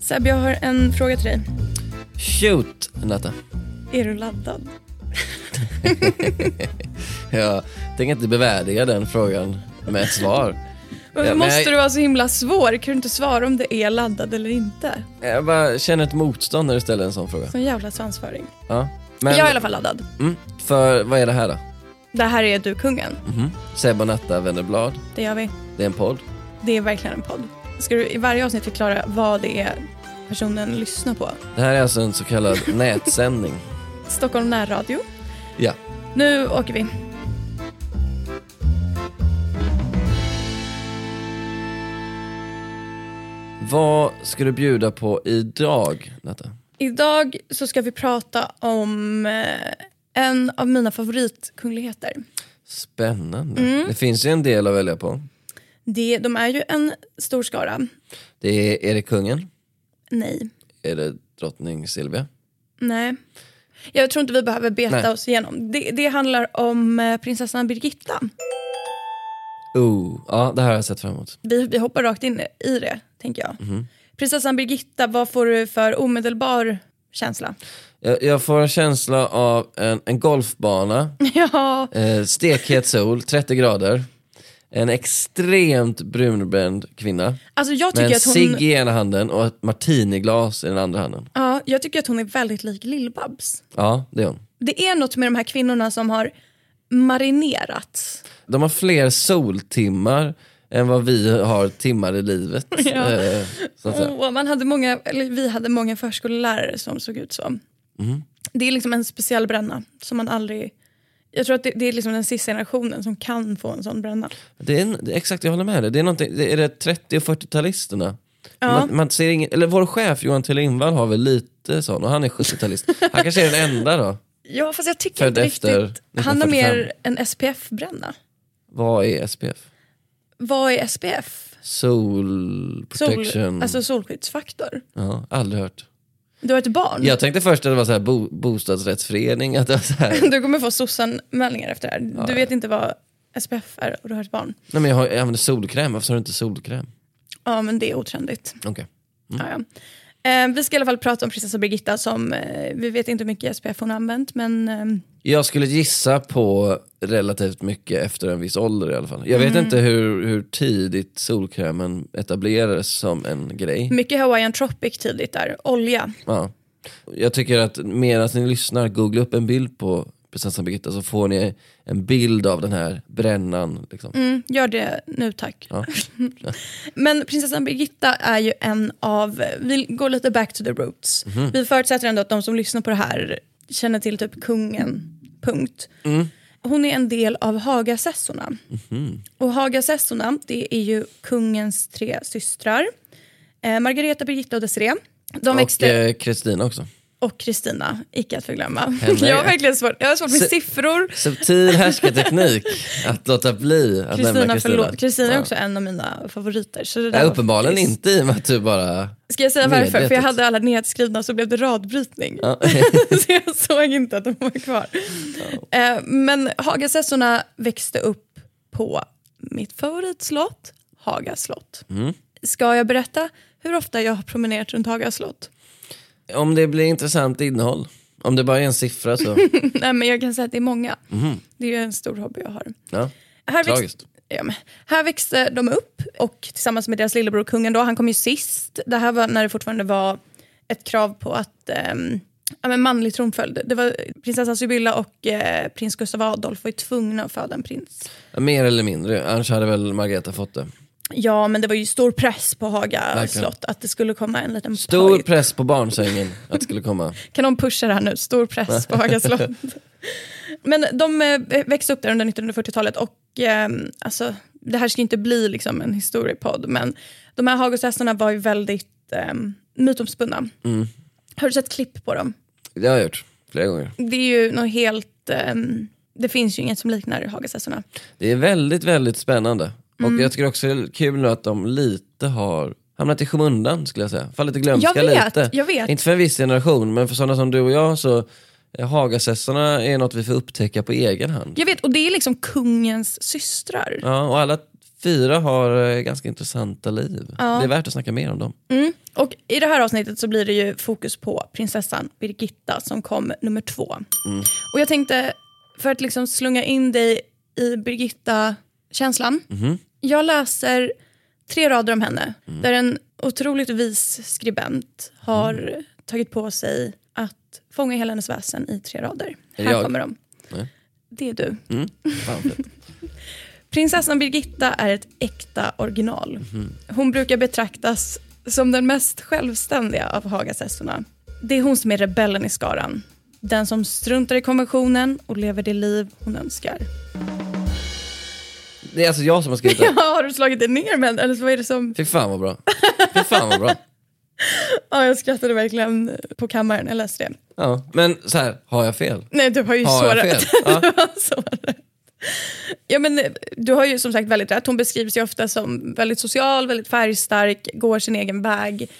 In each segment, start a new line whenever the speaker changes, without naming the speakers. Seb, jag har en fråga till dig.
Shoot, Nata.
Är du laddad?
Jag tänker inte bevärdiga den frågan med ett svar.
Varför
Ja, men
måste
jag-
du vara så himla svår? Kan du inte svara om det är laddad eller inte?
Jag bara känner ett motstånd när du ställer en sån fråga.
Sån jävla svansföring.
Ja. Men,
Jag är i alla fall laddad.
Mm, för vad är det här då?
Det här är Du kungen.
Mhm. Seb och Natta vänder blad.
Det gör vi.
Det är en podd.
Det är verkligen en podd. Ska du i varje avsnitt förklara vad det är personen lyssnar på?
Det här är alltså en så kallad nätsändning.
Stockholm närradio.
Ja.
Nu åker vi.
Vad ska du bjuda på idag, Natta?
Idag så ska vi prata om eh, en av mina favoritkungligheter.
Spännande.
Mm.
Det finns ju en del att välja på.
Det, de är ju en stor skara.
Det är, är det kungen?
Nej.
Är det drottning Silvia?
Nej. Jag tror inte vi behöver beta
Nej.
oss igenom. Det, det handlar om eh, prinsessan Birgitta.
Oh, ja det här har jag sett fram emot.
Vi, vi hoppar rakt in i det, tänker jag. Prinsessan Birgitta, vad får du för omedelbar känsla?
Jag, jag får en känsla av en, en golfbana,
ja,
eh, stekhet sol, 30 grader, en extremt brunbränd kvinna
alltså jag
med
tycker,
en
att hon,
cigg i ena handen och ett martiniglas i den andra handen.
ja, jag tycker att hon är väldigt lik Lill-Babs.
Ja, det är hon.
Det är något med de här kvinnorna som har marinerats.
De har fler soltimmar än vad vi har timmar i livet.
Ja.
eh, så att säga.
Och man hade många, eller vi hade många förskollärare som såg ut så.
Mm.
Det är liksom en speciell bränna som man aldrig... Jag tror att det, det är liksom den sista generationen som kan få en sån bränna.
Det är, en- det, exakt, jag håller med dig. Det är, någonting- det, är det 30 och 40-talisterna?
Ja.
Man, man ser ingen, eller vår chef Johan Thelin-Wall har väl lite sån, och han är 70-talist. Han kanske är den enda då.
Ja, fast jag tycker
Född
inte
efter
riktigt... Han har
1945.
mer en SPF-bränna.
Vad är SPF?
Vad är SPF?
Sol
Sol,
protection.
alltså solskyddsfaktor.
ja, aldrig hört.
Du har ett barn.
Jag tänkte först att det var så här bo, bostadsrättsförening, att det var så här.
Du kommer få sossanmälningar efter det här. Du vet inte vad SPF är och du har ett barn.
Nej, men jag, har, jag använder solkräm, varför har du inte solkräm?
Ja, men det är otrendigt.
Okej.
Ja, ja. Eh, vi ska i alla fall prata om prinsessa Birgitta som eh, vi vet inte hur mycket SPF hon har använt men ehm,
Jag skulle gissa på relativt mycket efter en viss ålder i alla fall. Jag vet
Mm.
inte hur, hur tidigt solkrämen etablerades som en grej.
mycket Hawaiian tropic tidigt där. Olja.
Ja. Jag tycker att medan ni lyssnar, googla upp en bild på prinsessan Birgitta så får ni en bild av den här brännan. Liksom.
Mm, gör det nu tack.
Ja.
Men prinsessan Birgitta är ju en av, vi går lite back to the roots.
Mhm.
Vi förutsätter ändå att de som lyssnar på det här känner till typ kungen, punkt.
Mm.
Hon är en del av Hagasessorna.
Mhm.
Och Hagasessorna, det är ju kungens tre systrar. Eh, Margareta, Birgitta och Desiree. De
Och
växte
eh, Kristina också.
och Kristina, icke att förglömma.
Henne.
Jag har verkligen svårt, jag har svårt med
Se-
siffror.
Subtil härskarteknik att låta bli att nämna
Kristina,
Kristina.
förlåt. Kristina är
Ja.
också en av mina favoriter. Så det där
Ja,
var
uppenbarligen
faktiskt-
inte i och med att du bara...
Ska jag säga varför? För jag
Medvetet.
hade alla nedskrivna så blev det radbrytning.
Ja.
så jag såg inte att de var kvar. Eh, Men Hagasessorna växte upp på mitt favoritslott, Haga slott.
Mm.
Ska jag berätta hur ofta jag har promenerat runt Haga slott?
Om det blir intressant innehåll. Om det bara är en siffra så...
Nej, men jag kan säga att det är många.
Mhm.
Det är ju en stor hobby jag har.
Ja.
Här växt-
Tragiskt.
Ja, men, här växte de upp och tillsammans med deras lillebror kungen då, han kom ju sist. Det här var när det fortfarande var ett krav på att ehm, ja, men manlig tronföljd. Det var prinsessan Sibylla och eh, prins Gustav Adolf var ju tvungna att föda en prins.
Ja, Mer eller mindre, annars hade väl Margareta fått det.
Ja, men det var ju stor press på Haga
Verkligen.
slott att det skulle komma en liten
Stor
pojk.
press på barnsängen att det skulle komma.
Kan de pusha det här nu? Stor press på Haga slott. Men de eh, växte upp där under 1940-talet och eh, alltså, det här ska ju inte bli liksom en historiepodd, men de här Hagåshästarna var ju väldigt eh, mytomspunna. Har du sett klipp på dem?
Det har jag gjort flera gånger.
Det är ju något helt... Eh, det finns ju inget som liknar Hagåshästarna.
Det är väldigt, väldigt spännande.
Mm.
Och jag tycker också det är kul nu att de lite har hamnat i skymundan skulle jag säga. Fallit i glömska
Jag vet,
lite.
jag vet.
Inte för en viss generation, men för sådana som du och jag så eh, Hagasessarna är något vi får upptäcka på egen hand.
Jag vet, och det är liksom kungens systrar.
Ja, och alla fyra har eh, ganska intressanta liv. Det är värt att snacka mer om dem.
Och I det här avsnittet så blir det ju fokus på prinsessan Birgitta som kom nummer två.
Mm.
Och jag tänkte, för att liksom slunga in dig i Birgitta-känslan.
Mhm.
Jag läser tre rader om henne
Mm.
där en otroligt vis skribent har
Mm.
tagit på sig att fånga hela hennes väsen i tre rader.
det
Här
jag?
kommer de.
Nej.
Det är du.
Fan, fett.
Prinsessan Birgitta är ett äkta original. Hon brukar betraktas som den mest självständiga av Hagasessorna. Det är hon som är rebellen i skaran. Den som struntar i konventionen och lever det liv hon önskar.
det är alltså jag som har skrivit det.
Ja, har du slagit dig ner med Eller så vad är det som...
Fy fan vad bra. Fy fan vad bra.
Ja, jag skrattade verkligen på kammaren. Jag läste det.
Ja, men så här, har jag fel?
Nej, du har ju
Har
så
jag fel?
rätt.
Ja.
Du har så rätt. Ja, men, eh, du har ju som sagt väldigt rätt. Hon beskrivs ju ofta som väldigt social, väldigt färgstark, går sin egen väg.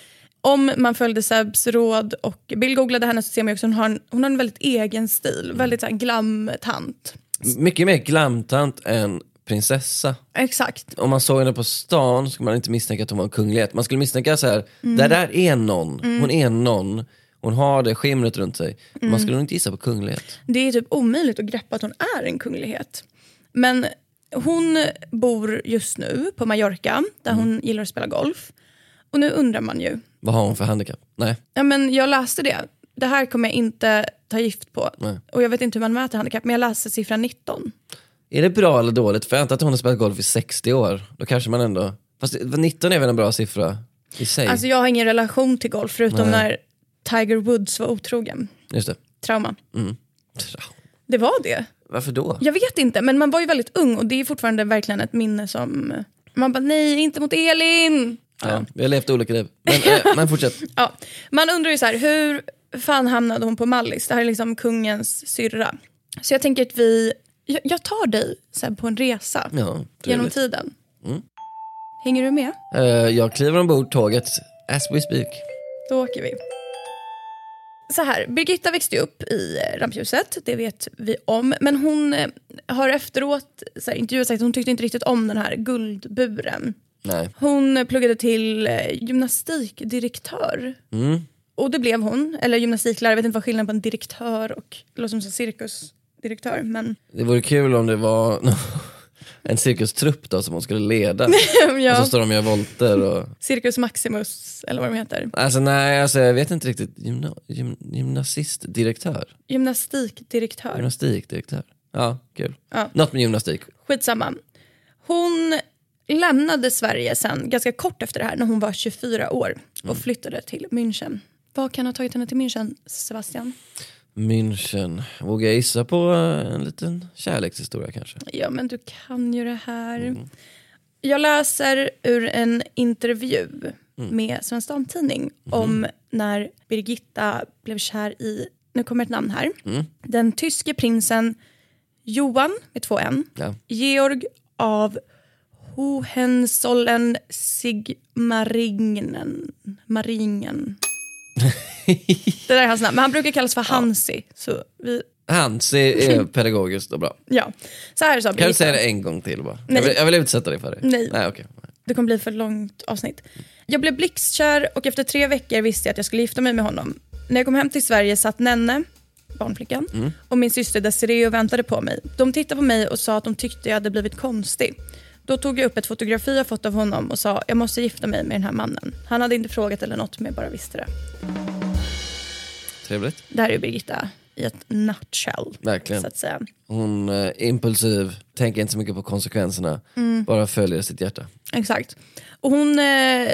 Om man följde Sebs råd och bildgooglade henne så ser man ju också att hon har en, hon har en väldigt egen stil. Väldigt så här, glamtant.
Mycket mer glamtant än prinsessa.
Exakt.
om man såg henne på stan skulle man inte misstänka att hon var en kunglighet. Man skulle misstänka så här, det där är någon,
Mm.
hon är någon, hon har det skimret runt sig. Men Man skulle nog inte gissa på kunglighet.
Det är typ omöjligt att greppa att hon är en kunglighet. Men hon bor just nu på Mallorca där hon gillar att spela golf. Och nu undrar man ju,
Vad har hon för handikapp? Nej.
Ja, men jag läste det. Det här kommer jag inte ta gift på.
Nej.
Och Jag vet inte hur man mäter handikapp, men jag läste siffran 19.
Är det bra eller dåligt? För jag antar att hon har spelat golf i 60 år. Då kanske man ändå... Fast 19 är väl en bra siffra i sig?
Alltså, jag har ingen relation till golf, förutom när Tiger Woods var otrogen.
Just det.
Trauma.
Tra-
Det var det.
Varför då?
Jag vet inte, men man var ju väldigt ung och det är fortfarande verkligen ett minne som... Man bara, nej, inte mot Elin!
Ja, vi har levt olika liv. Men, eh, men fortsätt.
Ja. Man undrar ju så här, hur fan hamnade hon på Mallis? Det här är liksom kungens syrra. Så jag tänker att vi... Jag, jag tar dig sen på en resa
Ja,
genom
trevligt. Mm.
tiden. Hänger du med?
Eh, jag kliver ombord tåget as we speak.
Då åker vi. Så här, Birgitta växte ju upp i eh, rampljuset, det vet vi om. Men hon eh, har efteråt så här, intervjuat sagt att hon tyckte inte riktigt om den här guldburen.
Nej.
Hon eh, pluggade till eh, gymnastikdirektör.
Mm.
Och det blev hon, eller gymnastiklärare, jag vet inte vad skillnaden på en direktör och det låter som en cirkusdirektör. Men,
Det vore kul om det var en cirkustrupp då som hon skulle leda. Och Alltså, så
ja,
står de och gör volter och...
Cirkus Maximus, eller vad de heter.
Alltså nej, alltså, jag vet inte riktigt. Gymna... Gym... Gymnasistdirektör?
Gymnastikdirektör.
Gymnastikdirektör? Ja, kul.
Ja.
Något med gymnastik.
Skitsamma. Hon lämnade Sverige sen ganska kort efter det här när hon var 24 år och flyttade till München. Vad kan ha tagit henne till München, Sebastian?
München. Vågar jag gissa på eh, en liten kärlekshistoria kanske?
Ja, men du kan ju det här.
Mm.
Jag läser ur en intervju
Mm.
med Svensk Damtidning
Mhm.
om när Birgitta blev kär i, nu kommer ett namn här,
Mm.
den tyske prinsen Johan med två N,
Ja.
Georg av Hohenzollern Sigmaringen. Maringen. det där är hans namn, men han brukar kallas för Hansi. Så, vi,
Hansi är E, pedagogiskt och bra.
ja. så här sa
Kan du
Birgitta.
säga det en gång till bara? Jag
Nej.
vill, jag vill utsätta dig för det.
Nej.
Nej, okej.
Det kommer bli för långt avsnitt. Jag blev blixtkär och efter tre veckor visste jag att jag skulle gifta mig med honom. När jag kom hem till Sverige satt Nenne, barnflickan, och min syster Desiree och väntade på mig. De tittade på mig och sa att de tyckte jag hade blivit konstig. Då tog jag upp ett fotografi jag fått av honom och sa jag måste gifta mig med den här mannen. Han hade inte frågat eller något men jag bara visste det.
Trevligt.
Det här är ju Birgitta i ett nutshell.
Verkligen.
Så att säga.
Hon är impulsiv, tänker inte så mycket på konsekvenserna,
Mm.
bara följer sitt hjärta.
Exakt. Och hon eh,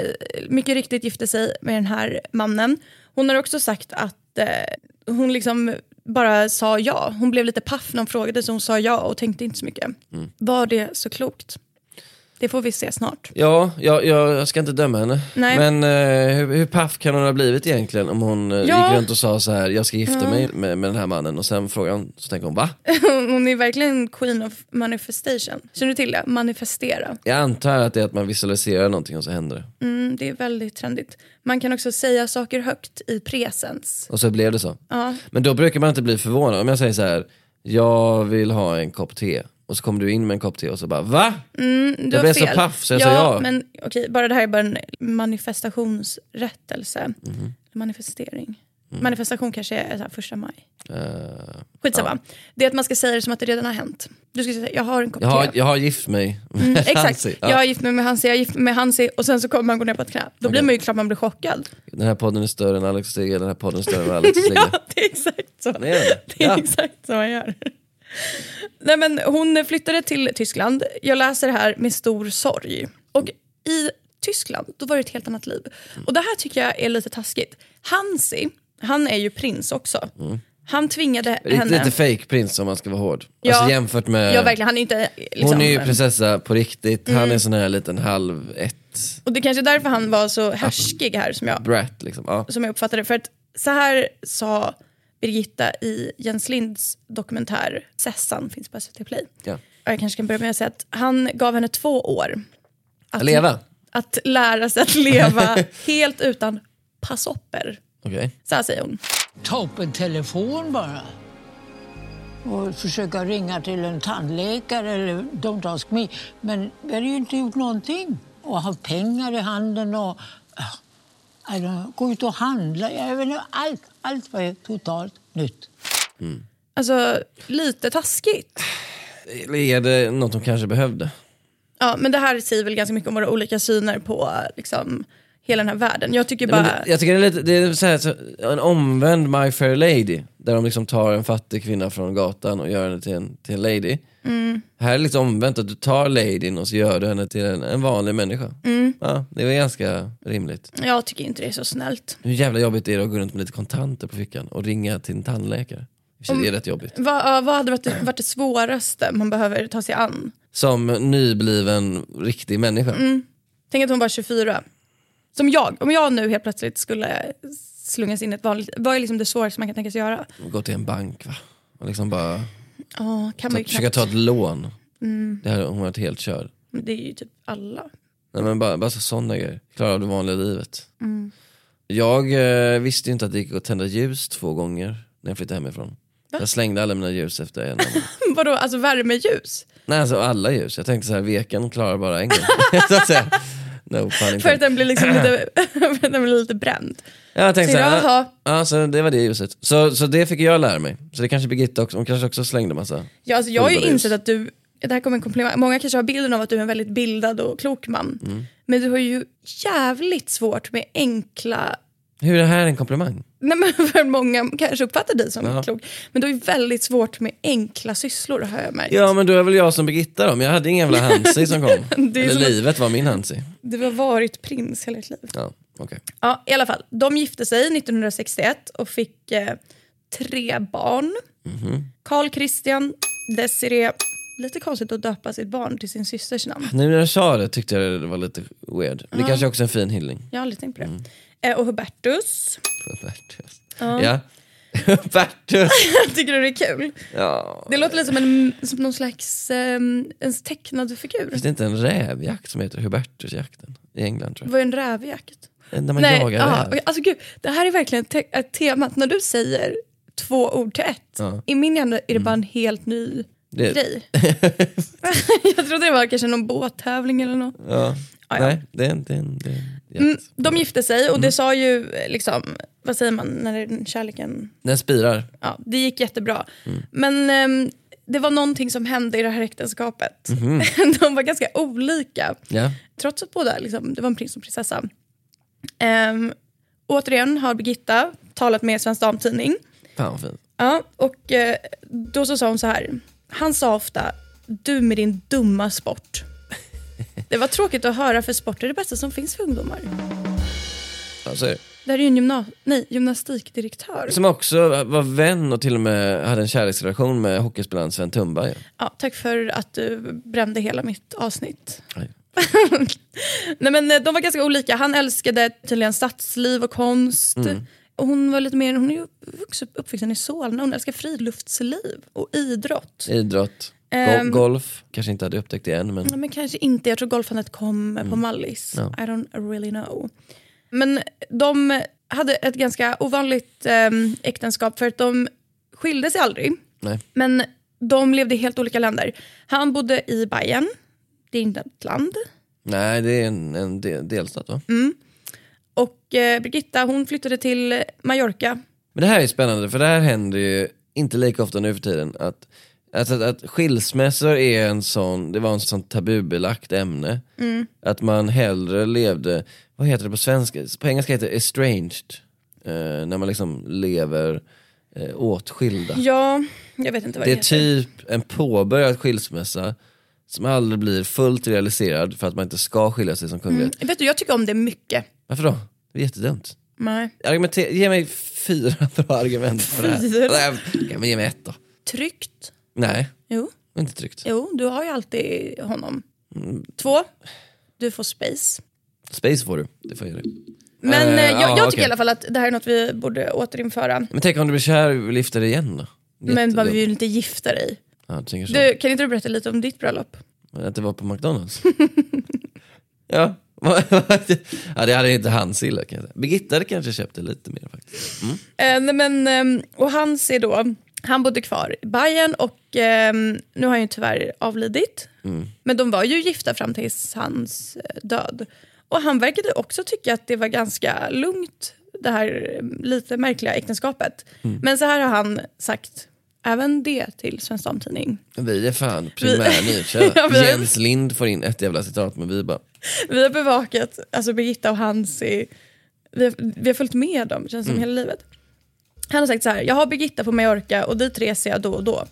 mycket riktigt gifte sig med den här mannen. Hon har också sagt att eh, hon liksom bara sa ja. Hon blev lite paff när hon frågade så hon sa ja och tänkte inte så mycket. Var det så klokt? Det får vi se snart.
Ja, jag, jag, jag ska inte döma henne.
Nej.
Men eh, hur, hur paff kan hon ha blivit egentligen om hon eh,
Ja.
gick runt och sa så här, jag ska gifta mig med, med den här mannen och sen frågar hon, så tänker hon va?
Hon är verkligen queen of manifestation. Känner du till det? Manifestera.
Jag antar att det är att man visualiserar någonting och så händer det.
Mm, det är väldigt trendigt. Man kan också säga saker högt i presens.
Och så blev det så. Men då brukar man inte bli förvånad. Om jag säger så här, jag vill ha en kopp te. Och så kommer du in med en kopp te och så bara va?
Mm, Du
Jag
har
blev så
fel.
paff, så jag
ja,
sa ja.
Men, okej, bara det här är bara en manifestationsrättelse.
Mhm.
Manifestering. Manifestation kanske är så här första maj.
Eh,
Skitsamma. Det är att man ska säga det som att det redan har hänt. Du ska säga, jag har en kopp
jag, har,
te. Mm,
jag har gift mig.
Exakt,
Hansi, ja.
jag har gift mig med Hansi, jag har gift mig med Hansi och sen så kommer man gå ner på ett knä. Då blir man ju klart man blir chockad.
Den här podden är större än Alex och Sigge, den här podden är större än Alex och Sigge.
Ja, det är exakt så.
Det är det.
Det är
Ja.
exakt så man gör. Nej, men hon flyttade till Tyskland. Jag läser det här med stor sorg. Och i Tyskland då var det ett helt annat liv. Och det här tycker jag är lite taskigt. Hansi, han är ju prins också. Han tvingade
Mm. Riktigt
henne...
lite fake prins om man ska vara hård.
Ja.
Alltså jämfört med...
Ja, verkligen. Mm. Han är ju inte... Liksom,
Hon är ju prinsessa på riktigt, han är sån här liten halv ett
och det är kanske är därför han var så härskig här som jag
brat liksom. Ja.
som jag uppfattade det. För att så här sa Birgitta i Jens Linds dokumentär Sessan finns på SVT Play.
Ja.
Och Jag kanske kan börja med att säga att han gav henne två år. Att,
Leva?
Att lära sig att leva helt utan passopper.
Okej.
Så här säger hon.
ta upp en telefon bara. Och försöka ringa till en tandläkare eller don't ask me. Men vi hade ju inte gjort någonting. Och ha pengar i handen och äh, I don't know, gå ut och handla. Jag vet inte, allt, allt var ju totalt nytt.
Alltså lite taskigt.
Eller Är det något hon kanske behövde?
Ja, men det här säger väl ganska mycket om våra olika syner på liksom, hela den här världen. Jag tycker bara...
Men det, jag tycker det är, lite, det är så här, så, en omvänd My Fair Lady, där de liksom tar en fattig kvinna från gatan och gör henne till en, till en lady.
Mm.
Här är det lite omvänt, att du tar ladyn och så gör du henne till en, en vanlig människa.
Mm.
Ja, det är väl ganska rimligt.
Jag tycker inte det är så snällt.
Hur jävla jobbigt är det att gå runt med lite kontanter på fickan och ringa till en tandläkare? I och för sig, Det är rätt jobbigt.
Vad, ja, vad hade varit det, varit det svåraste man behöver ta sig an?
Som nybliven riktig människa.
Tänk att hon var 24. Som jag, om jag nu helt plötsligt skulle slungas in i ett vanligt... Vad är liksom det svåraste man kan tänkas göra?
Gå till en bank va? Och liksom bara
Ja, kan man ju
ta, försöka
knappt. Mm.
ta ett lån. Det här hon varit helt körd.
Men Det är ju typ alla.
Nej, men bara, bara sådana grejer. Klara av det vanliga livet.
Mm.
Jag eh, visste ju inte att det gick att tända ljus två gånger när jag flyttade hemifrån. Jag slängde alla mina ljus efter en. annan.
Vadå, alltså värmeljus?
Nej alltså alla ljus. Jag tänkte så här, veken klarar bara en gång. så att säga. No pun
För att
intended.
den blir liksom lite, för att den blir lite bränd.
Jag tänkte så
Så
här,
jaha.
ja, ja, så det var det ljuset. Så, så det fick jag lära mig. Så det kanske Birgitta också, hon kanske också slängde massa.
Ja, alltså, jag har ju
Fullbelys.
insett att du, det här kommer en komplimang, många kanske har bilden av att du är en väldigt bildad och klok man.
Mm.
Men du har ju jävligt svårt med enkla
Hur är det här en komplimang?
Nej, men för många kanske uppfattar dig som
Ja.
klok. Men du har ju väldigt svårt med enkla sysslor har jag märkt.
Ja men då är väl jag som Birgitta då, men jag hade ingen jävla Hansi som kom.
Det är
Eller
som-
livet var min Hansi.
Du har varit prins hela ditt liv.
Ja, okej.
Ja, i alla fall. De gifte sig 1961 och fick eh, tre barn.
Mhm.
Carl Christian, Desiree. Lite konstigt att döpa sitt barn till sin systers namn.
Nu när jag sa det tyckte jag det var lite weird. Men det kanske också är en fin hyllning.
Jag har aldrig tänkt på det.
Mm.
Eh, och Hubertus.
Hubertus. Ja. Hubertus.
Tycker du det är kul?
Ja.
Det låter lite som, en, som någon slags eh, en tecknad figur.
Finns det inte en rävjakt som heter Hubertusjakten? I England tror
Det var ju en rävjakt.
jag. När man jagar
ja,
räv.
okej. alltså gud, det här är verkligen te- ett temat. När du säger två ord till ett, i min hjärna är det
Mm.
bara en helt ny
Det-
grej. jag trodde det var kanske någon båttävling eller något.
Ja.
ja.
Nej, det är en, det är en, det är en jakt.
Mm, de gifte sig och det sa ju eh, liksom, vad säger man när den kärleken,
Den spirar.
ja det gick jättebra.
Mm.
Men ehm, det var någonting som hände i det här äktenskapet.
Mhm.
de var ganska olika.
Ja.
trots att båda liksom, det var en prins och prinsessa. Ehm, återigen har Birgitta talat med Svensk Damtidning.
Fan vad fint.
Ja, och eh, då så sa hon så här. Han sa ofta, du med din dumma sport. Det var tråkigt att höra för sport är det bästa som finns för ungdomar.
Ja, så är det.
Det här är ju en gymna- nej, gymnastikdirektör.
Alltså, Som också var vän och till och med hade en kärleksrelation med hockeyspelaren Sven Tumba. Ja.
Ja, tack för att du brände hela mitt avsnitt.
Nej.
Nej, men eh, de var ganska olika. Han älskade tydligen stadsliv och konst. Och hon var lite mer, hon är ju vuxen- uppvuxen i Solna, hon älskar friluftsliv och idrott.
Idrott,
Ehm.
go- golf, kanske inte hade upptäckt det än men
Ja, men kanske inte, jag tror golfandet kom eh, på Mallis.
Mm. Ja.
I don't really know. Men de hade ett ganska ovanligt ehm, äktenskap för att de skilde sig aldrig.
nej.
Men de levde i helt olika länder. Han bodde i Bayern, det är inte ett land.
Nej, det är en, en del, delstat va?
Och eh, Birgitta hon flyttade till Mallorca.
Men det här är spännande för det här händer ju inte lika ofta nu för tiden. Att, alltså, att, att skilsmässor är en sån, det var en sån tabubelagt ämne. Att man hellre levde, vad heter det på svenska? På engelska heter det estranged. Eh, när man liksom lever eh, åtskilda.
Ja, jag vet inte vad
Det
det,
är typ en påbörjad skilsmässa som aldrig blir fullt realiserad för att man inte ska skilja sig som kunglighet.
heter. Vet du, jag tycker om det mycket.
Varför då? Det är jättedumt.
Nej.
Argumenter- ge mig fyra bra argument för det här.
Fyra?
Nej, okej, men ge mig ett då.
Tryggt.
Nej,
Jo.
inte tryggt.
jo, du har ju alltid honom.
Mm.
Två, du får space.
Space får du. Det får jag göra.
Men
Eh,
eh, jag,
ja,
jag tycker
okej.
i alla fall att det här är något vi borde återinföra.
Men tänk om du blir kär och vill gifta dig igen då?
Men
Jättedumt.
man vill ju inte gifta dig.
Ja, du tänker så.
Du, kan inte du berätta lite om ditt bröllop?
Att det var på McDonalds? ja. ja, det hade inte hans illa kan jag säga. Birgitta hade kanske köpte lite mer faktiskt.
Eh, nej, men, ehm, och han ser då, han bodde kvar i Bayern och ehm, nu har han ju tyvärr avlidit.
Mm.
Men de var ju gifta fram tills hans eh, död. Och han verkade också tycka att det var ganska lugnt, det här eh, lite märkliga äktenskapet.
Mm.
Men så här har han sagt, även det till Svensk Damtidning.
Vi är fan primär nyhetskälla.
Ja, vi-
Jens Lind får in ett jävla citat men vi bara,
Vi har bevakat alltså Birgitta och Hansi. Vi har, vi har följt med dem känns som hela livet. Han har sagt så här, jag har Birgitta på Mallorca och dit reser jag då och då.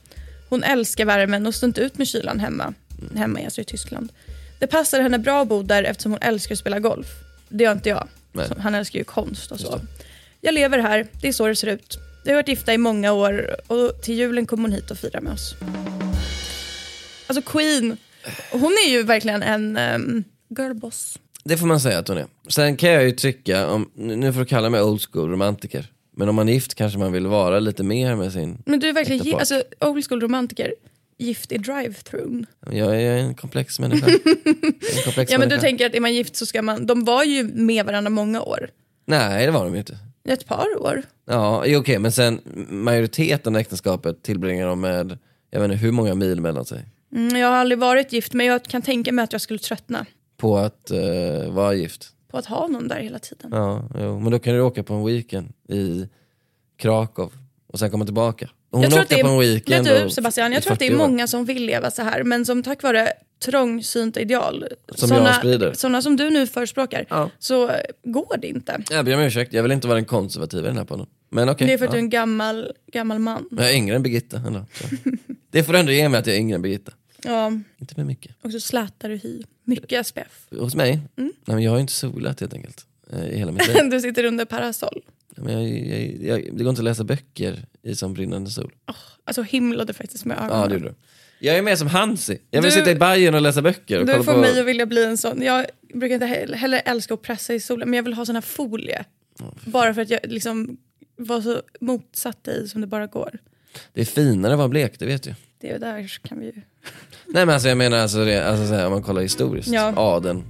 Hon älskar värmen och står inte ut med kylan hemma. Hemma är alltså i Tyskland. Det passar henne bra att bo där eftersom hon älskar att spela golf. Det gör inte jag.
Nej.
Så Han älskar ju konst och så. Jag lever här, det är så det ser ut. Vi har varit gifta i många år och till julen kom hon hit och firade med oss. Alltså Queen, hon är ju verkligen en um, girlboss.
det får man säga att hon är. Sen kan jag ju tycka, om, nu får du kalla mig old school romantiker, men om man är gift kanske man vill vara lite mer med sin,
Men du är verkligen
Äkta
gi-
part.
alltså, old school romantiker, gift i drive-thrun.
jag är en komplex människa. Jag är En komplex
Ja men du
människa.
tänker att är man gift så ska man, de var ju med varandra många år.
Nej det var de ju inte.
Ett par år.
Ja, jo, okej men sen majoriteten av äktenskapet tillbringar de med, jag vet inte hur många mil mellan sig.
Mm, jag har aldrig varit gift men jag kan tänka mig att jag skulle tröttna
På att eh, vara gift.
på att ha någon där hela tiden.
Ja, jo. men då kan du åka på en weekend i Krakow och sen komma tillbaka. Hon
jag tror att
åkte
det är,
på en weekend
vet du,
och-
Sebastian, jag
i
tror att det är
40 år.
många som vill leva så här men som tack vare trångsynta ideal,
Som
såna,
jag sprider.
såna som du nu förespråkar,
Ja.
så eh, går det inte.
Jag ber om ursäkt, jag vill inte vara den konservativa i den här podden. Men okej.
Det är för att
ja.
du är en gammal, gammal man.
Men jag är yngre än Birgitta ändå. Så. det får du ändå ge mig att jag är yngre än Birgitta.
Ja,
Inte med mycket.
och så slätar du hy. Mycket SPF.
Hos mig?
Mm.
Nej, men jag har ju inte solat helt enkelt. eh, I hela mitt liv.
Du sitter under parasoll.
Men jag, jag, jag, det går inte att läsa böcker i sån brinnande sol.
Alltså himlade faktiskt med ögonen.
Ja, det gjorde du. Jag är mer som Hansi. Jag vill
Du-
sitta i Bayern och läsa böcker. Och
Du
kolla
får
på...
mig att vilja bli en sån. Jag brukar inte he- heller älska att pressa i solen, men jag vill ha sån här folie. Bara för att jag liksom var så motsatt dig som det bara går.
Det är finare att vara blek, det vet du.
Det är där kan vi ju...
Nej men alltså jag menar alltså, det, alltså så här, om man kollar historiskt.
Ja.
Adeln.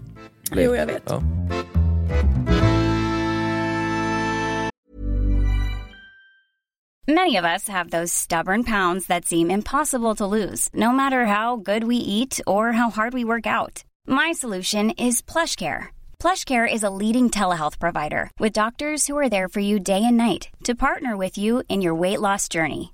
blek.
Jo, jag vet.
Ja.
Many of us have those stubborn pounds that seem impossible to lose, no matter how good we eat or how hard we work out. My solution is PlushCare. PlushCare is a leading telehealth provider with doctors who are there for you day and night to partner with you in your weight loss journey.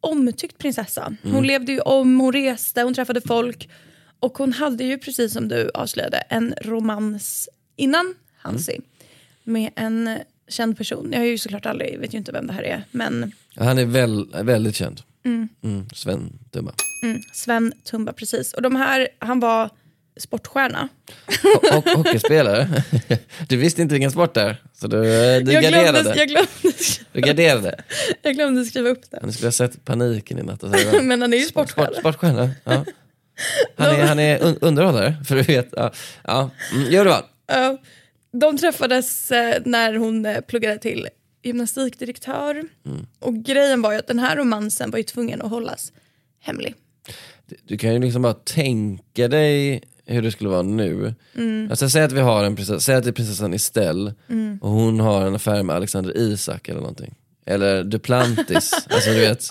omtyckt prinsessa. Hon
Mm.
levde ju om, hon reste, hon träffade folk. Och hon hade ju, precis som du avslöjade, en romans innan
Mm.
Hansi. Med en känd person. Jag har ju såklart aldrig, vet ju inte vem det här är. Men
Han är väl, väldigt känd. Mm, Sven Tumba.
Sven Tumba, precis. Och de här, han var sportstjärna.
Ho- ho- hockeyspelare. Du visste inte vilken sport det är, så du, eh, du
jag,
garderade.
glömde, jag, glömde,
Du garderade.
jag glömde skriva upp det.
Men Du skulle ha sett paniken i natt. och säga,
Men han är ju
sport-
sportstjärna.
Sport, sportstjärna. Ja. Han, är, han är un- underhållare, för du vet. Ja. Ja. Mm, gör det va?
Ja. De träffades eh, när hon eh, pluggade till gymnastikdirektör. Och grejen var ju att den här romansen var ju tvungen att hållas hemlig.
Du kan ju liksom bara tänka dig hur det skulle vara nu. Alltså, säg att vi har en prinsessa, säg att det är prinsessan Estelle och hon har en affär med Alexander Isak eller någonting. Eller Duplantis. alltså, du vet.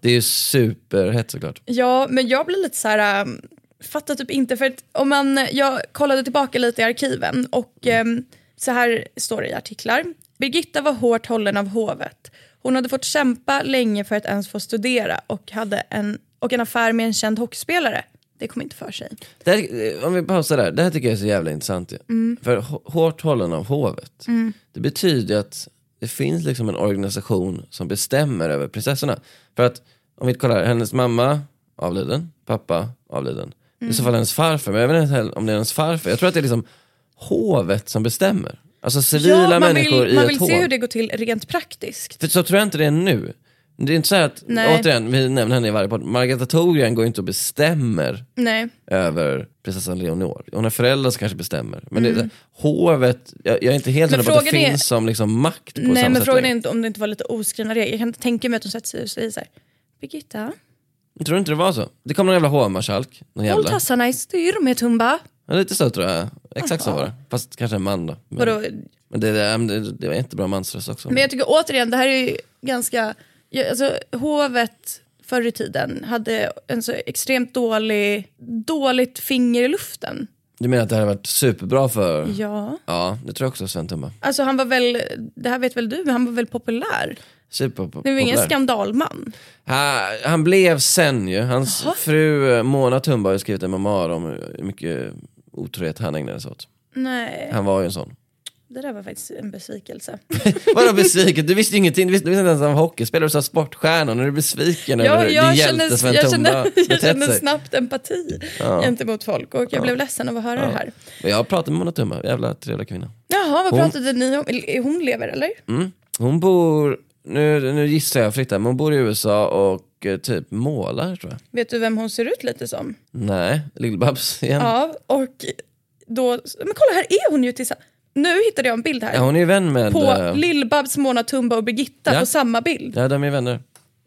Det är ju superhett såklart.
Ja, men jag blir lite så här... ähm, fattar typ inte, för att om man, jag kollade tillbaka lite i arkiven och ähm, så här står det i artiklar. Birgitta var hårt hållen av hovet. Hon hade fått kämpa länge för att ens få studera och hade en, och en affär med en känd hockeyspelare. Det kom inte för sig.
Det här, eh, om vi pausar där, det här tycker jag är så jävla intressant. ju.
Mm.
För hå- hårt hållen av hovet, det betyder ju att det finns liksom en organisation som bestämmer över prinsessorna. För att om vi kollar, hennes mamma avliden, pappa avliden.
Mm.
I så fall hennes farfar, men jag vet inte heller om det är hennes farfar. Jag tror att det är liksom hovet som bestämmer. Alltså civila
ja, man
människor
vill,
i
man
ett
vill
hov.
se hur det går till rent praktiskt.
För så tror jag inte det är nu. Det är inte så här att,
Nej.
återigen, vi nämner henne i varje podd, Margareta Thorgren går ju inte och bestämmer
Nej.
över prinsessan Leonor. Hon har föräldrar som kanske bestämmer. Men det, hovet, jag, jag är inte helt
Mm. Men
säker på att det
frågan är-
finns som liksom makt på
Nej
samma
men
sätt
frågan är
längre.
inte om det inte var lite oskrivna regler. Jag kan inte tänka mig att hon sätter sig och säger så här. Birgitta,
Tror du inte det var så? Det kom någon jävla hovmarskalk. Någon
håll
jävla.
tassarna i styr med Tumba.
Ja, lite så tror jag. Exakt så var det. Fast kanske en man då. Men,
Vadå?
men det, det, det, det var inte bra mansröst också.
Men jag tycker återigen, det här är ju ganska... ja, Alltså, hovet förr i tiden hade en så extremt dålig, dåligt finger i luften.
Du menar att det här har varit superbra för... Ja,
Ja.
det tror jag också Sven Tumba.
Alltså han var väl, det här vet väl du, men han var väl populär? Det var ingen
Superpopulär.
skandalman.
Ha- Han blev sen ju. Hans fru eh, Mona Tumba har ju skrivit en memoar om hur mycket otrohet han ägnade sig åt.
Nej,
Han var ju en sån.
det där var faktiskt en besvikelse.
Vadå besviken? Du visste ju ingenting, du visste, du visste inte ens om hockeyspelare, du sa sportstjärnor, nu är du besviken
Ja,
över hur din hjälte Sven
jag,
Tumba
känner, jag
betett
känner
sig.
snabbt empati gentemot folk och jag blev ledsen av att höra det här.
Men Jag pratade med Mona Tumba, jävla trevlig kvinna.
Jaha, vad
Hon-
pratade ni om? Är Hon lever eller?
Mm. Hon bor, nu, nu gissar jag fritt här, men hon bor i USA och eh, typ målar tror jag.
Vet du vem hon ser ut lite
Mm.
som?
Nej, Lill-Babs igen. Ja.
Ja, och då... Men kolla, här är hon ju tillsammans. Nu hittade jag en bild här.
hon är ju vän med...
På
eh,
Lill-Babs, Mona Tumba och Birgitta
Ja.
på samma bild.
ja, de är vänner.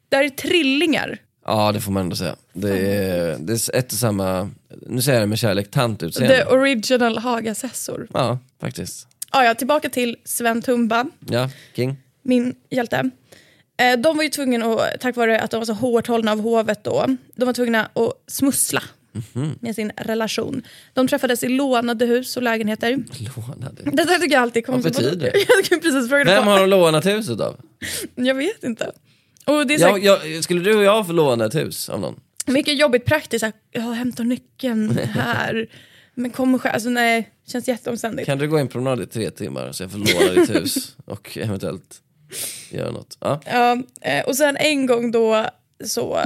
Där är trillingar.
Ja, det får man ändå säga. Det är, det är ett och samma, nu säger jag det med kärlek,
The
tantutseende.
original Hagasessor.
Ja, faktiskt.
Ja, ja, tillbaka till Sven Tumba.
Ja, king.
min hjälte. Eh, De var ju tvungna, att, tack vare att de var så hårt hållna av hovet då, de var tvungna att smussla
Mhm.
med sin relation. De träffades i lånade hus och lägenheter.
Lånade.
Det där tycker jag alltid kommer
Vad betyder det?
Jag skulle precis fråga
Vem
det.
har de lånat huset av?
Jag vet inte. Och det är så
Jag,
här,
jag, skulle du och jag få låna ett hus av någon?
mycket jobbigt praktiskt, så här, jag hämtar nyckeln här. Men kom och skär. Alltså nej, känns jätteomständigt.
Kan du gå en promenad i tre timmar så jag får låna ditt hus och eventuellt göra något? Ja.
Ja, eh, och sen en gång då så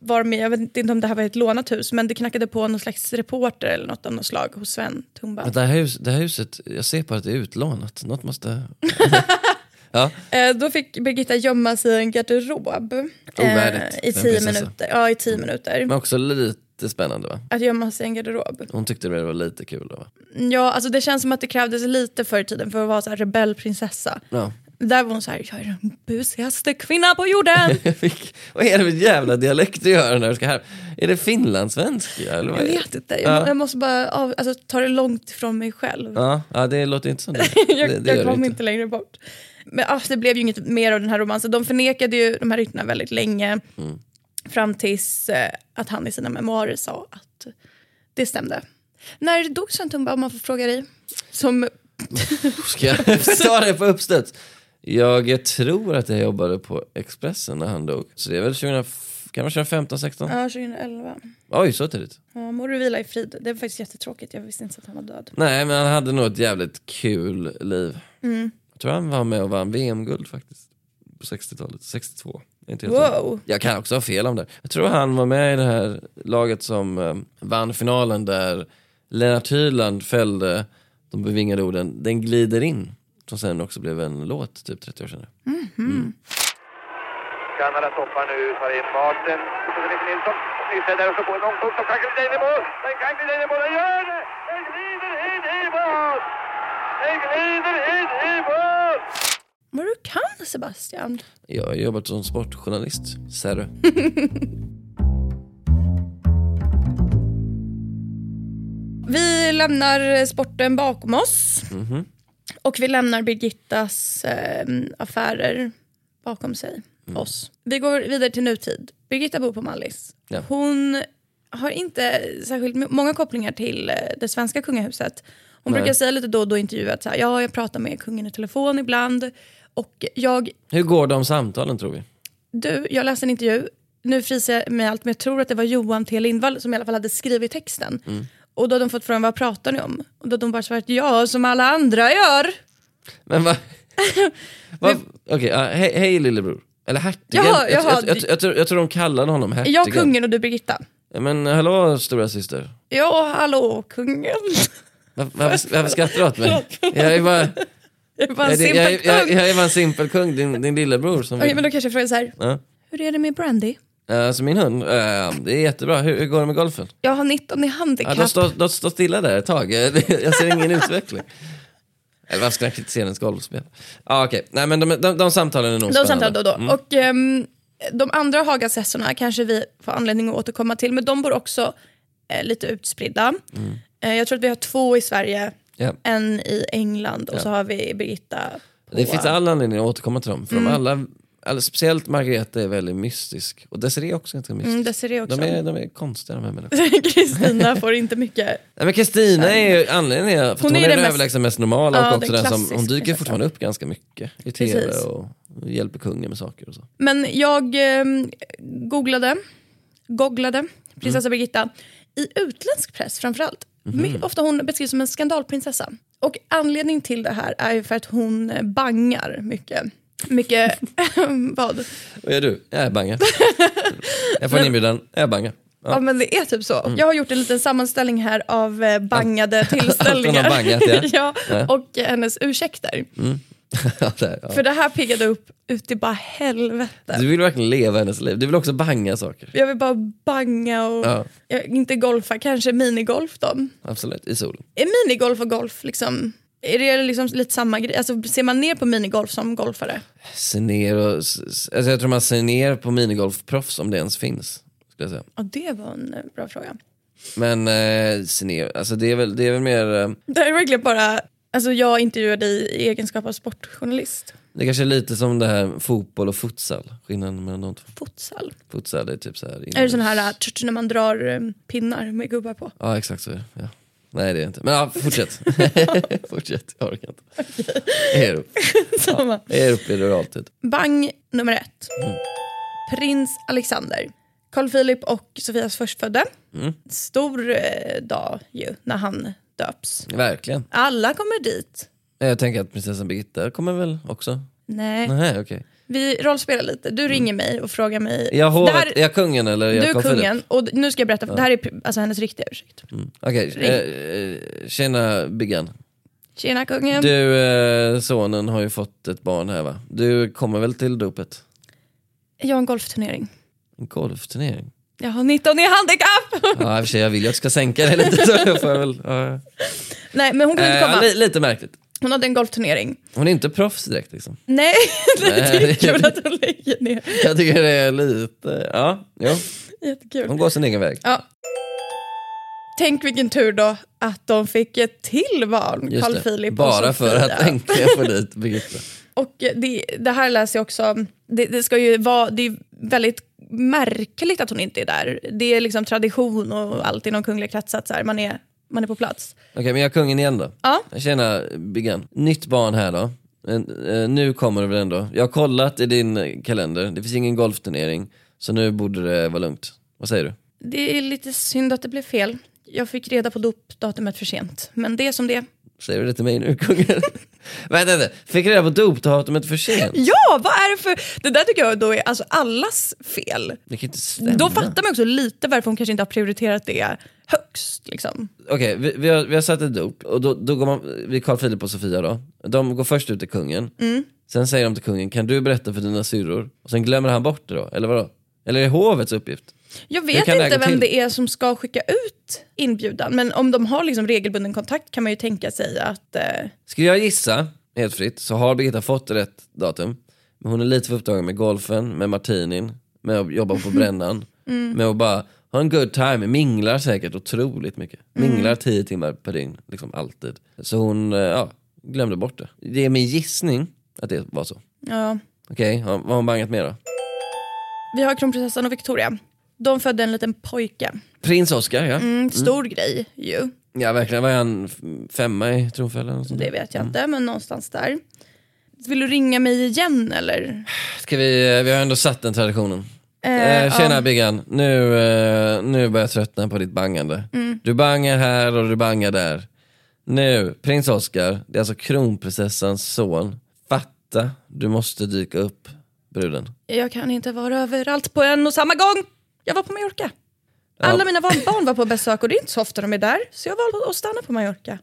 var de med, jag vet inte om det här var ett lånat hus, men det knackade på någon slags reporter eller något av något slag hos Sven Tumba.
Men Det, här hus, det här huset, jag ser på att det är utlånat. Något måste...
Eh, då fick Birgitta gömma sig i en garderob
Oh,
Eh,
Ovärdigt
i
för en
tio
prinsessa.
minuter. Ja, i tio minuter.
Men också lite spännande va?
Att gömma sig i en garderob.
Hon tyckte det var lite kul då, va?
Ja, alltså det känns som att det krävdes lite förr i tiden för att vara så här rebellprinsessa.
Ja.
Där var hon så här, jag är den busigaste kvinnan på jorden.
Fick- vad är det för jävla dialekt du gör när du ska här? Är det finlandssvenska? Eller vad
Jag
är det?
vet inte,
Ja.
jag, jag måste bara av, alltså, ta det långt ifrån mig själv.
Ja, ja, det låter inte som det.
jag,
det, det gör
jag
det
kom inte längre bort. Men ah, det blev ju inget mer av den här romansen. De förnekade ju de här ryktena väldigt länge.
Mm.
Fram tills eh, att han i sina memoarer sa att det stämde. När dog Sventumba om man får fråga dig? Som,
Ska jag ta det på uppstuds? Jag tror att jag jobbade på Expressen när han dog. Så det är väl 2000, kan det vara 2015, 16?
ja 2011.
Oj, så tidigt.
Ja, må du vila i frid. Det var faktiskt jättetråkigt, jag visste inte att han var död.
Nej, men han hade nog ett jävligt kul liv.
Mm.
Jag tror han var med och vann VM-guld faktiskt. På 60-talet, 62. Jag är Inte helt hundra.
Wow.
Jag kan också ha fel om det. Jag tror han var med i det här laget som eh, vann finalen där Lennart Hyland fällde de bevingade orden “Den glider in” som sen också blev en låt typ 30 år senare.
Kanada toppar nu, tar in Martin. Så det är Nilsson. Nystedt där och så går det långskott. Så kan Gudin i mål! Den kan Gudin i mål! Den gör det! Den glider in i mål! Den glider in i mål!
Vad du kan Sebastian.
Jag har jobbat som sportjournalist, ser du.
Vi lämnar sporten bakom oss. Och vi lämnar Birgittas eh, affärer bakom sig. Oss. Vi går vidare till nutid. Birgitta bor på Mallis.
Ja.
Hon har inte särskilt m- många kopplingar till eh, det svenska kungahuset. Hon brukar säga lite då och då i intervjuer att så här, ja, jag pratar med kungen i telefon ibland. Och jag,
Hur går de samtalen tror vi?
du, jag läste en intervju, nu fryser jag mig allt men jag tror att det var Johan T Lindvall som i alla fall hade skrivit texten.
Mm.
Och då hade de fått frågan vad pratar ni om? Och då hade hon bara svarat ja, som alla andra gör.
Men vad... va, Okej, ja, hej, hej lillebror. Eller hertigen.
Jaha,
jag,
jaha,
jag, jag,
du-
jag, tror, jag tror de kallade honom
Är
hertigen.
jag kungen och du Birgitta?
Ja, Men hallå stora syster.
Ja, hallå kungen.
Var- Varför, varför skrattar du åt mig? Jag är bara,
Jag är bara
jag,
en
är- jag,
simpel
är- jag,
kung.
jag är bara en simpel kung, din, din lillebror. Som
Okej, men
vill.
då kanske jag frågar så här,
Ja.
hur är det med Brandy?
Eh, Så min hund, eh, det är jättebra. Hur, hur går det med golfen?
Jag har 19 i
Ja,
handikapp.
de står de står stilla där ett tag. Jag ser ingen utveckling. Eller varför ska jag kritisera hennes golfspel? Ja, okej. Nej, men de, de, de samtalen är nog
De
spännande.
samtalar då och då.
Mm.
Och, ehm, de andra Hagasessorna kanske vi får anledning att återkomma till, men de bor också eh, lite utspridda.
Mm.
Eh, jag tror att vi har två i Sverige,
Ja.
en i England och så har vi Birgitta. På,
Det finns all anledning att återkomma till dem. För
Mm.
de alla, alla, speciellt Margareta är väldigt mystisk. Och Desiree är också ganska mystisk.
Mm, Desiree också.
De är, de är konstiga de här människorna.
Kristina får inte mycket.
Nej, men Kristina är ju anledningen för att hon,
Hon är
är
den
den
mest-
överlägset mest normala
Ja,
och också
den
den som,
klassiska
hon dyker
prinsessan.
fortfarande upp ganska mycket i tv
Precis.
och hjälper kungen med saker och så.
Men jag ehm, googlade, googlade prinsessa
Mm.
Birgitta i utländsk press framförallt.
Mhm.
Mycket ofta hon beskrivs som en skandalprinsessa. Och anledningen till det här är ju för att hon bangar mycket. Mycket vad?
Vad gör du? Jag är bange. jag får en inbjudan, jag är bange.
Ja. men det är typ så. Jag har gjort en liten sammanställning här av eh, bangade
Mm. Allt hon
tillställningar.
har bangat, ja.
ja, och eh, hennes ursäkter.
Ja, där, ja.
För det här piggade upp ut i bara helvete.
Du vill verkligen leva hennes liv, du vill också banga saker.
Jag vill bara banga och
Ja.
jag, inte golfa, kanske minigolf då.
Absolut, i solen.
Är minigolf och golf liksom, är det liksom lite samma grej? Alltså, ser man ner på minigolf som golfare?
Se ner och, s- s- alltså jag tror man ser ner på minigolfproffs om det ens finns. Skulle jag säga.
Ja, det var en eh, bra fråga.
Men eh, se ner, alltså det är väl, det är väl mer, eh,
Det här är verkligen bara, alltså jag intervjuade dig i egenskap av sportjournalist.
det kanske är lite som det här fotboll och futsal, skillnaden mellan de två.
Futsal.
Futsal är typ så här
Är det
inomhus.
sån här eh, tch, tch, när man drar eh, pinnar med gubbar på?
Ja exakt så är det. Ja. Nej det är det inte. Men ja, fortsätt. fortsätt, jag orkar inte. Okay. Erup.
Samma.
Erup är det alltid.
Bang nummer ett.
Mm.
Prins Alexander. Carl Philip och Sofias förstfödde.
Mm.
Stor eh, dag ju när han döps.
Verkligen.
Alla kommer dit.
Eh, Jag tänker att prinsessan Birgitta kommer väl också?
Nej.
Nej okej.
Vi rollspelar lite. Du ringer mig och frågar mig.
Är jag hovet,
Det här-
är jag kungen eller är
du
jag
är
Carl Philip? Mm.
kungen. Och nu ska jag berätta, för det här är pri- alltså, hennes riktiga ursäkt.
Okej, eh, eh, tjena Biggan.
Tjena kungen.
Du, eh, sonen har ju fått ett barn här va? Du kommer väl till dopet?
Jag har en golfturnering.
En golfturnering?
Jag har 19 i handikapp!
Ja i och för sig, jag vill ju att du ska sänka det lite så jag får väl... ja.
Nej men hon kunde inte
Eh,
komma.
li- lite märkligt.
Hon hade en golfturnering.
Hon är inte proffs direkt liksom.
Nej, det är kul att hon lägger ner.
Jag tycker det är lite, ja, jo. Hon
Jättekul.
går sin egen väg.
Ja. Tänk vilken tur då att de fick ett till barn,
Just
Carl
det.
Philip och
Bara för
Sofia.
att NK får dit Birgitta.
Och det, det här läser jag också, det, det ska ju vara, det är väldigt märkligt att hon inte är där. Det är liksom tradition och allt inom kungliga kretsar att så här, man, är, man är på plats.
Okej, men jag är kungen igen då.
Ja.
Tjena Biggan. Nytt barn här då. En- eh, Nu kommer det väl ändå. Jag har kollat i din eh, kalender, det finns ingen golfturnering. Så nu borde det vara lugnt. Vad säger du?
Det är lite synd att det blev fel. Jag fick reda på dopdatumet för sent, men det är som det är.
Säger du det till mig nu kungen? Vänta, vänta. Fick reda på dopdatumet för sent?
Ja, vad är det för... Det där tycker jag då är alltså allas fel.
Det kan inte stämma.
Då fattar man också lite varför hon kanske inte har prioriterat det högst. Liksom.
Okej, vi, vi, har, vi har satt ett dop och då, då går man, vi är Carl Philip och Sofia då. De går först ut till kungen. Sen säger de till kungen, kan du berätta för dina syrror? Och sen glömmer han bort det då, eller vadå? Eller är det hovets uppgift?
Jag
Hur
vet
kan det här
inte
gå
vem
till?
det är som ska skicka ut inbjudan, men om de har liksom regelbunden kontakt kan man ju tänka sig att... Eh,
Skulle jag gissa, helt fritt, så har Birgitta fått rätt datum. Men hon är lite för upptagen med golfen, med martinin, med att jobba på brännan. Med att bara ha en good time, minglar säkert otroligt mycket. Minglar tio timmar per dygn, liksom alltid. Så hon eh, ja, glömde bort det. Det är min gissning att det var så.
ja.
Okej, ja, vad har hon bangat med då?
Vi har kronprinsessan och Victoria. De födde en liten pojke.
Prins Oscar, ja.
Mm, stor grej ju,
Ja verkligen, var han f- femma i tronfällan? och sånt där?
det vet jag inte, men någonstans där. Vill du ringa mig igen eller?
Ska vi, eh, vi har ändå satt den traditionen.
Eh,
Eh, tjena Biggan, nu, eh, nu börjar jag tröttna på ditt bangande.
Mm.
Du bangar här och du bangar där. Nu, prins Oscar, det är alltså kronprinsessans son. Fatta, du måste dyka upp bruden.
Jag kan inte vara överallt på en och samma gång. Jag var på Mallorca. Alla mina barn barn var på besök och det är inte så ofta de är där, så jag valde att stanna på Mallorca.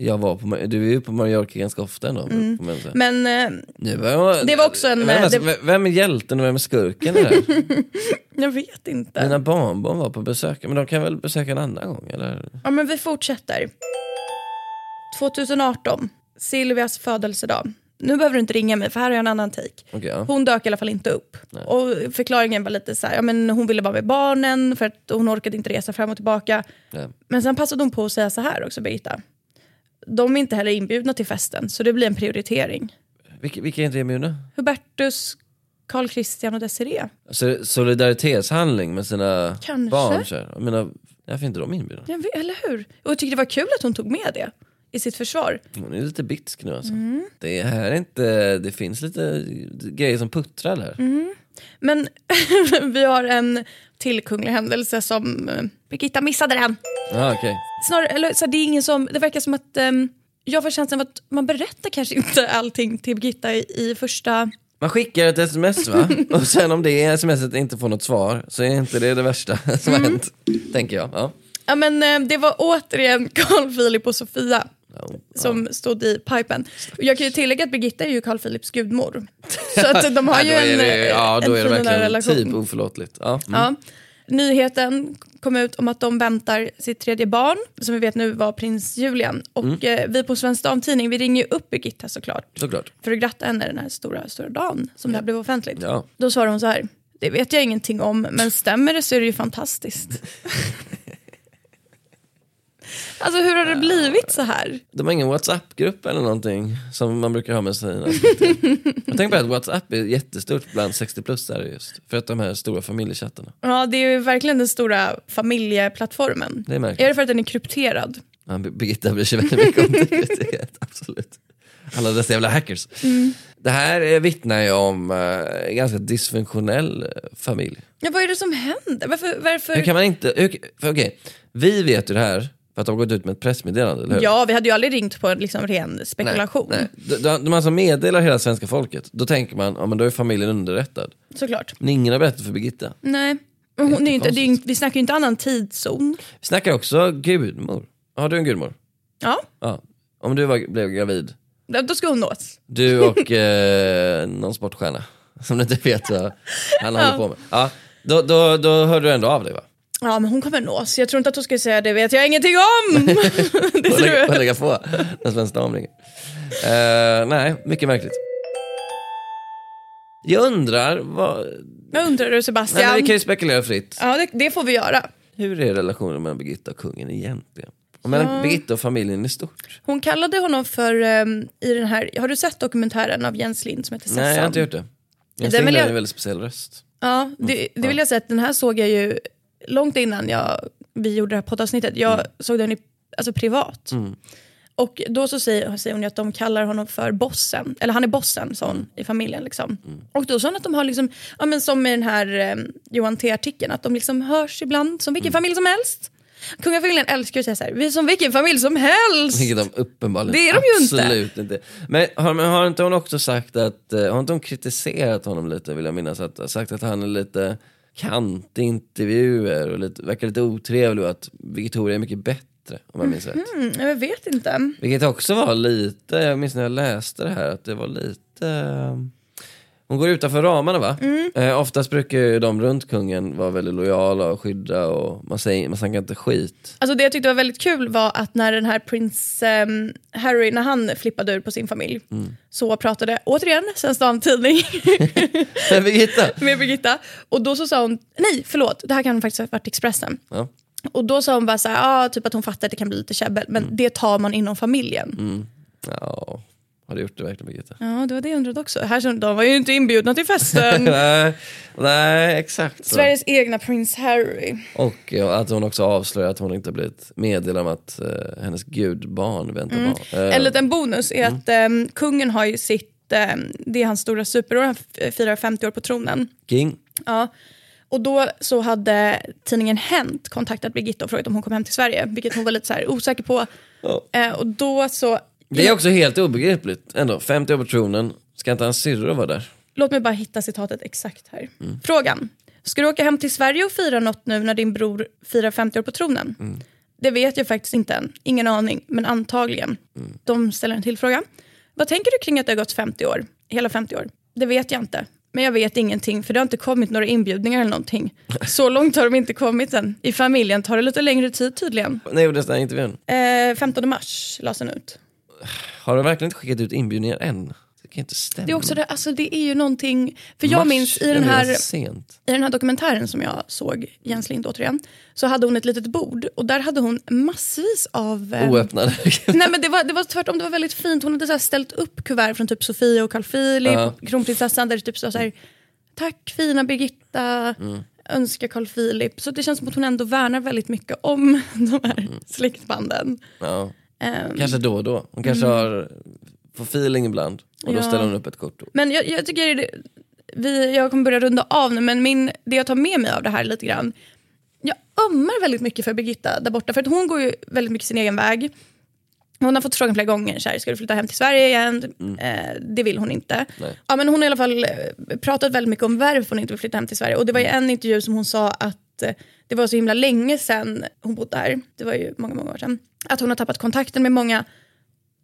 Jag var på, Ma- du är ju på Mallorca ganska ofta ändå. får man säga.
Men eh,
Nu var,
Det var också en- eh,
Vem,
det-
vem, vem är hjälten och vem är skurken i det här?
jag vet inte.
Mina barnbarn var på besök, men de kan väl besöka en annan gång? Eller?
Ja, men vi fortsätter. 2018, Silvias födelsedag. Nu behöver du inte ringa mig för här har jag en annan take.
Okej, ja.
Hon dök i alla fall inte upp. Och förklaringen var lite så här, ja, men hon ville vara med barnen för att hon orkade inte resa fram och tillbaka.
Nej.
Men sen passade hon på att säga så här också, Birgitta. De är inte heller inbjudna till festen, så det blir en prioritering.
Vilka, vilka är inte inbjudna?
Hubertus, Carl Christian och Desiree.
Alltså, solidaritetshandling med sina
Kanske.
barn? Så här. Jag menar, varför är inte de inbjudna?
Jag vet, eller hur? Och jag tyckte det var kul att hon tog med det i sitt försvar.
Hon är lite bitsk nu alltså.
Mm.
Det här är inte, det finns lite grejer som puttrar där.
Mm. Men vi har en till kunglig händelse som eh, Birgitta missade den.
Ah, okej.
Snarare, eller, så här, det, är ingen som, det verkar som att ehm, jag får känslan av att man berättar kanske inte allting till Birgitta i, i första...
Man skickar ett sms va? Och sen om det smset inte får något svar så är inte det det värsta som
Mm.
har hänt. Tänker jag. Ja.
Ja, men, eh, det var återigen Carl Philip och Sofia
Ja.
som stod i pipen. Och jag kan ju tillägga att Birgitta är ju Carl Philips gudmor. Så att de har ju
Ja, då är
en, eh,
det, ja,
en
då är det
finare
verkligen
relation.
typ oförlåtligt. Ja. Mm.
Ja. Nyheten kom ut om att de väntar sitt tredje barn, som vi vet nu var prins Julian. Och
Mm.
eh, vi på Svensk Damtidning, vi ringer ju upp Birgitta såklart
Såklart.
för att gratta henne den här stora, stora dagen som det här blev offentligt.
Ja.
Då svarade hon så här, det vet jag ingenting om, men stämmer det så är det ju fantastiskt. alltså hur har det blivit så här?
De har ingen WhatsApp-grupp eller någonting som man brukar ha med sina Jag tänker på att WhatsApp är jättestort bland 60-plussare just. För att de här stora familjechattarna.
Ja, det är ju verkligen den stora familjeplattformen.
Det är märkligt.
det för att den är krypterad?
Ja, Bir- Birgitta bryr sig väldigt mycket om integritet, absolut. Alla dessa jävla hackers. Det här eh, vittnar ju om eh, en ganska dysfunktionell eh, familj.
Ja, vad är det som händer? Varför?
Hur
varför?
kan man inte... Hur, för okej, vi vet ju det här för att de har gått ut med ett pressmeddelande, eller hur?
Ja, vi hade ju aldrig ringt på en liksom, ren
Nej,
spekulation.
nej. De, de, de alltså meddelar hela svenska folket. Då tänker man, ja men då är familjen underrättad.
Såklart.
Men ingen har berättat för Birgitta.
Nej. Men hon är ju inte, det är ju,
Jättekonstigt.
inte- vi snackar ju inte annan tidszon.
Vi snackar också gudmor. Har du en gudmor?
Ja,
Ja. Om du var, blev gravid,
då då ska hon nås.
Du och eh, någon sportstjärna som du inte vet vad han håller på med. Ja, då, då, då hör du ändå av dig va?
Ja, men hon kommer nås. Jag tror inte att hon skulle säga det vet jag ingenting om. det
Får
tror
lägga, får
jag.
lägga på när Svensk Dam ringer. Eh, nej, mycket märkligt. Jag undrar, vad,
jag undrar du
nej, men
Sebastian.
vi kan ju spekulera fritt.
Ja, det, det får vi göra.
Hur är relationen mellan Birgitta och kungen egentligen? Och mellan Birgitta och familjen i stort?
Hon kallade honom för, ehm, i den här, har du sett dokumentären av Jens Lind som heter Sessan?
Nej, jag har inte gjort det. Jag
Den
den
vill
har
jag-
en väldigt speciell röst.
Ja, det, det vill jag säga att den här såg jag ju långt innan jag, vi gjorde det här poddavsnittet. Jag såg den i, alltså privat. Och då så säger, säger hon ju att de kallar honom för bossen, eller han är bossen sa hon, i familjen. Liksom. Och då sa hon att de har, liksom, ja, men som i den här eh, Johan T-artikeln, att de liksom hörs ibland som vilken familj som helst. Kungafamiljen älskar ju att säga så här, vi är som vilken familj som helst.
Vilket de uppenbarligen
Det är de ju inte.
absolut inte. Men, har, men har inte hon också sagt att, eh, har inte hon kritiserat honom lite vill jag minnas, att, sagt att han är lite kantig i intervjuer och lite, verkar lite otrevlig och att Victoria är mycket bättre om jag minns rätt.
Mm, jag vet inte.
Vilket också var lite, jag minns när jag läste det här, att det var lite... eh, Hon går utanför ramarna va?
Mm.
Eh, oftast brukar ju de runt kungen vara väldigt lojala och skydda och man, säger, man snackar inte skit.
Alltså det jag tyckte var väldigt kul var att när den här prins ehm, Harry, när han flippade ur på sin familj, så pratade återigen Svensk Damtidning
Men Birgitta!
med Birgitta. Och då så sa hon, nej förlåt, det här kan faktiskt ha varit Expressen.
Ja.
Och då sa hon bara så här, ah, typ att hon fattar att det kan bli lite käbbel, men
Mm.
det tar man inom familjen.
ja, har du gjort det verkligen Birgitta?
Ja, det var det jag undrade också. Här, så- de var ju inte inbjudna till festen.
nej, nej, exakt så.
Sveriges egna prins Harry.
Och ja, att hon också avslöjar att hon inte blivit meddelad om att eh, hennes gudbarn väntar
Mm.
barn. Eh,
En liten bonus är att ehm, kungen har ju sitt, ehm, det är hans stora superår, han f- firar 50 år på tronen.
King.
Ja. Och då så hade tidningen Hänt kontaktat Birgitta och frågat om hon kom hem till Sverige, vilket hon var lite så här osäker på.
Ja.
Eh, och då så,
Det är också helt obegripligt ändå. 50 år på tronen, ska inte hans syrra vara där?
låt mig bara hitta citatet exakt här. Frågan, ska du åka hem till Sverige och fira något nu när din bror firar 50 år på tronen? Det vet jag faktiskt inte än, ingen aning, men antagligen. De ställer en till fråga. Vad tänker du kring att det har gått 50 år? Hela 50 år? Det vet jag inte. Men jag vet ingenting för det har inte kommit några inbjudningar eller någonting. Så långt har de inte kommit än. I familjen tar det lite längre tid tydligen.
När gjordes den här intervjun?
Eh, 15 mars lades den ut.
Har de verkligen inte skickat ut inbjudningar än? Det kan inte stämma.
Det är, också det, alltså det är ju någonting, för jag
Mars,
minns i
det
den,
blir
här,
så Sent.
i den här dokumentären som jag såg, Jens Lind återigen, så hade hon ett litet bord och där hade hon massvis av... eh,
Oöppnade.
Nej men det var, det var tvärtom, det var väldigt fint. Hon hade så här ställt upp kuvert från typ Sofia och Carl Philip, kronprinsessan, där det typ stod så här, tack fina Birgitta, önskar Carl Philip. Så det känns som att hon ändå värnar väldigt mycket om de här släktbanden.
ja.
Ehm, Mm.
Kanske då och då. Hon kanske har, får feeling ibland och då
Ja.
ställer hon upp ett kort.
Men jag, jag tycker det, vi, jag kommer börja runda av nu, men min, det jag tar med mig av det här lite grann. Jag ömmar väldigt mycket för Birgitta där borta, för att hon går ju väldigt mycket sin egen väg. Hon har fått frågan flera gånger, så här, ska du flytta hem till Sverige igen? Eh, det vill hon inte.
Nej.
Ja, men hon har i alla fall eh, pratat väldigt mycket om varför hon inte vill flytta hem till Sverige. Och det var ju en intervju som hon sa att eh, det var så himla länge sedan hon bodde där, det var ju många, många år sedan, att hon har tappat kontakten med många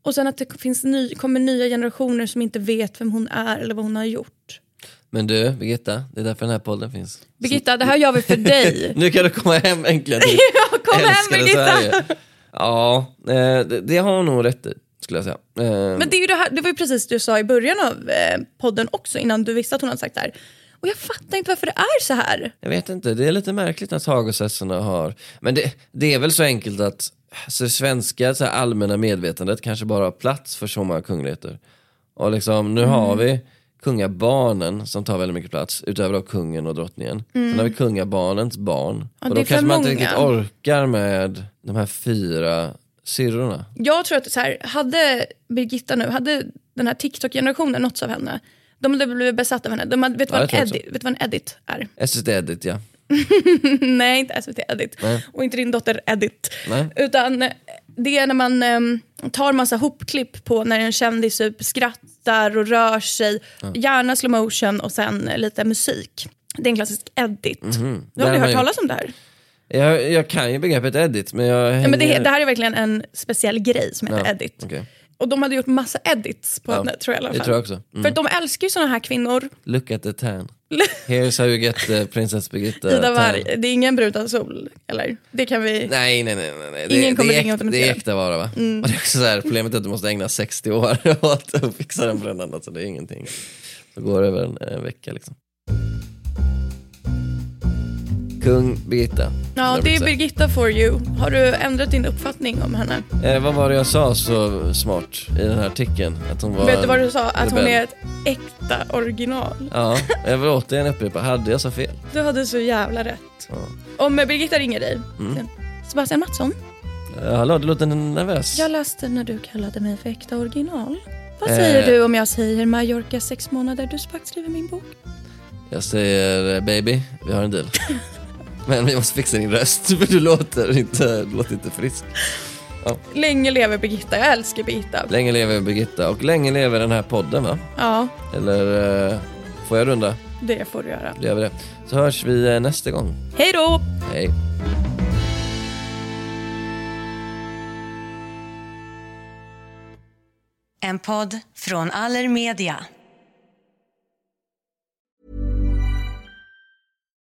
och sen att det finns ny, kommer nya generationer som inte vet vem hon är eller vad hon har gjort.
Men du, Birgitta, det är därför den här podden finns.
Birgitta, det här gör vi för dig.
Nu kan du komma hem äntligen till
Ja, Kom hem
älskade
Birgitta!
Sverige. Ja, eh, det, det har hon nog rätt i, skulle jag säga. Eh,
Men det, är ju det, här, det var ju precis det du sa i början av eh, podden också, innan du visste att hon hade sagt det här. Och jag fattar inte varför det är så här.
Jag vet inte, det är lite märkligt att Hagosessorna har... Men det, det är väl så enkelt att så det svenska så här, allmänna medvetandet kanske bara har plats för så många kungligheter. Och liksom, nu har
Mm.
vi kungabarnen som tar väldigt mycket plats, utöver då kungen och drottningen. Sen har vi kungabarnens barn.
Mm. Ja,
och
det
då
är
kanske
för
man inte
många.
riktigt orkar med de här fyra syrrorna.
Jag tror att så här, hade Birgitta nu, hade den här TikTok-generationen nåtts av henne, de hade blivit besatta av henne. De hade, vet, du
Ja,
vad
jag
en
tror
edit, vet du vad en edit är?
SVT Edit ja.
Nej, inte SVT Edit.
Nej.
Och inte din dotter Edit.
Nej.
Utan eh, det är när man em, tar massa hopklipp på när en kändis typ skrattar och rör sig. Gärna slow motion och sen eh, lite musik. Det är en klassisk edit. Du
Där
har aldrig
man
hört
ju-
talas om det här?
Jag, jag kan ju begreppet edit men jag hänger...
Ja, men det, det här är verkligen en speciell grej som heter edit.
okej.
Och de hade gjort massa edits på henne tror jag i alla
det
fall.
tror jag också. Mm.
För att de älskar ju såna här kvinnor.
Look at the tan.
sol.
Here's how you get eh, Prinsess Birgitta.
Ida Warg,
tan.
det är ingen brud utan sol, eller? Det kan vi...
Nej, nej, nej. nej, nej.
Ingen
det,
kommer
det,
ringa
är,
och Mm.
äk- det är
dementera.
äkta vara va? Och det är också så här, problemet är att du måste ägna 60 år åt att fixa den brännan. Alltså, det är ingenting. Så går det över en, en vecka liksom. Kung Birgitta.
Ja,
Där
det är
brukar jag
Birgitta for you. Har du ändrat din uppfattning om henne?
säga. eh, Vad var det jag sa så smart i den här artikeln? Att hon var
Vet du
en
vad du sa? Att hon
rebell.
är ett äkta original.
Ja, jag vill återigen upprepa. Hade jag så fel?
Du hade så jävla rätt. Om eh, Birgitta ringer dig. Sebastian Mattsson,
Eh, hallå, du låter nervös.
jag läste när du kallade mig för äkta original. Vad
Eh.
säger du om jag säger Mallorca sex månader, du spark skriver min bok?
Jag säger eh, baby, vi har en deal. Men vi måste fixa din röst för du låter inte, du låter inte frisk.
Länge lever Birgitta, jag älskar Birgitta.
Länge lever Birgitta och länge lever den här podden va?
Ja,
Eller eh, får jag runda?
det får du göra.
Då gör vi det. Så hörs vi eh, nästa gång.
Hej då!
Hej.
En podd från Allermedia.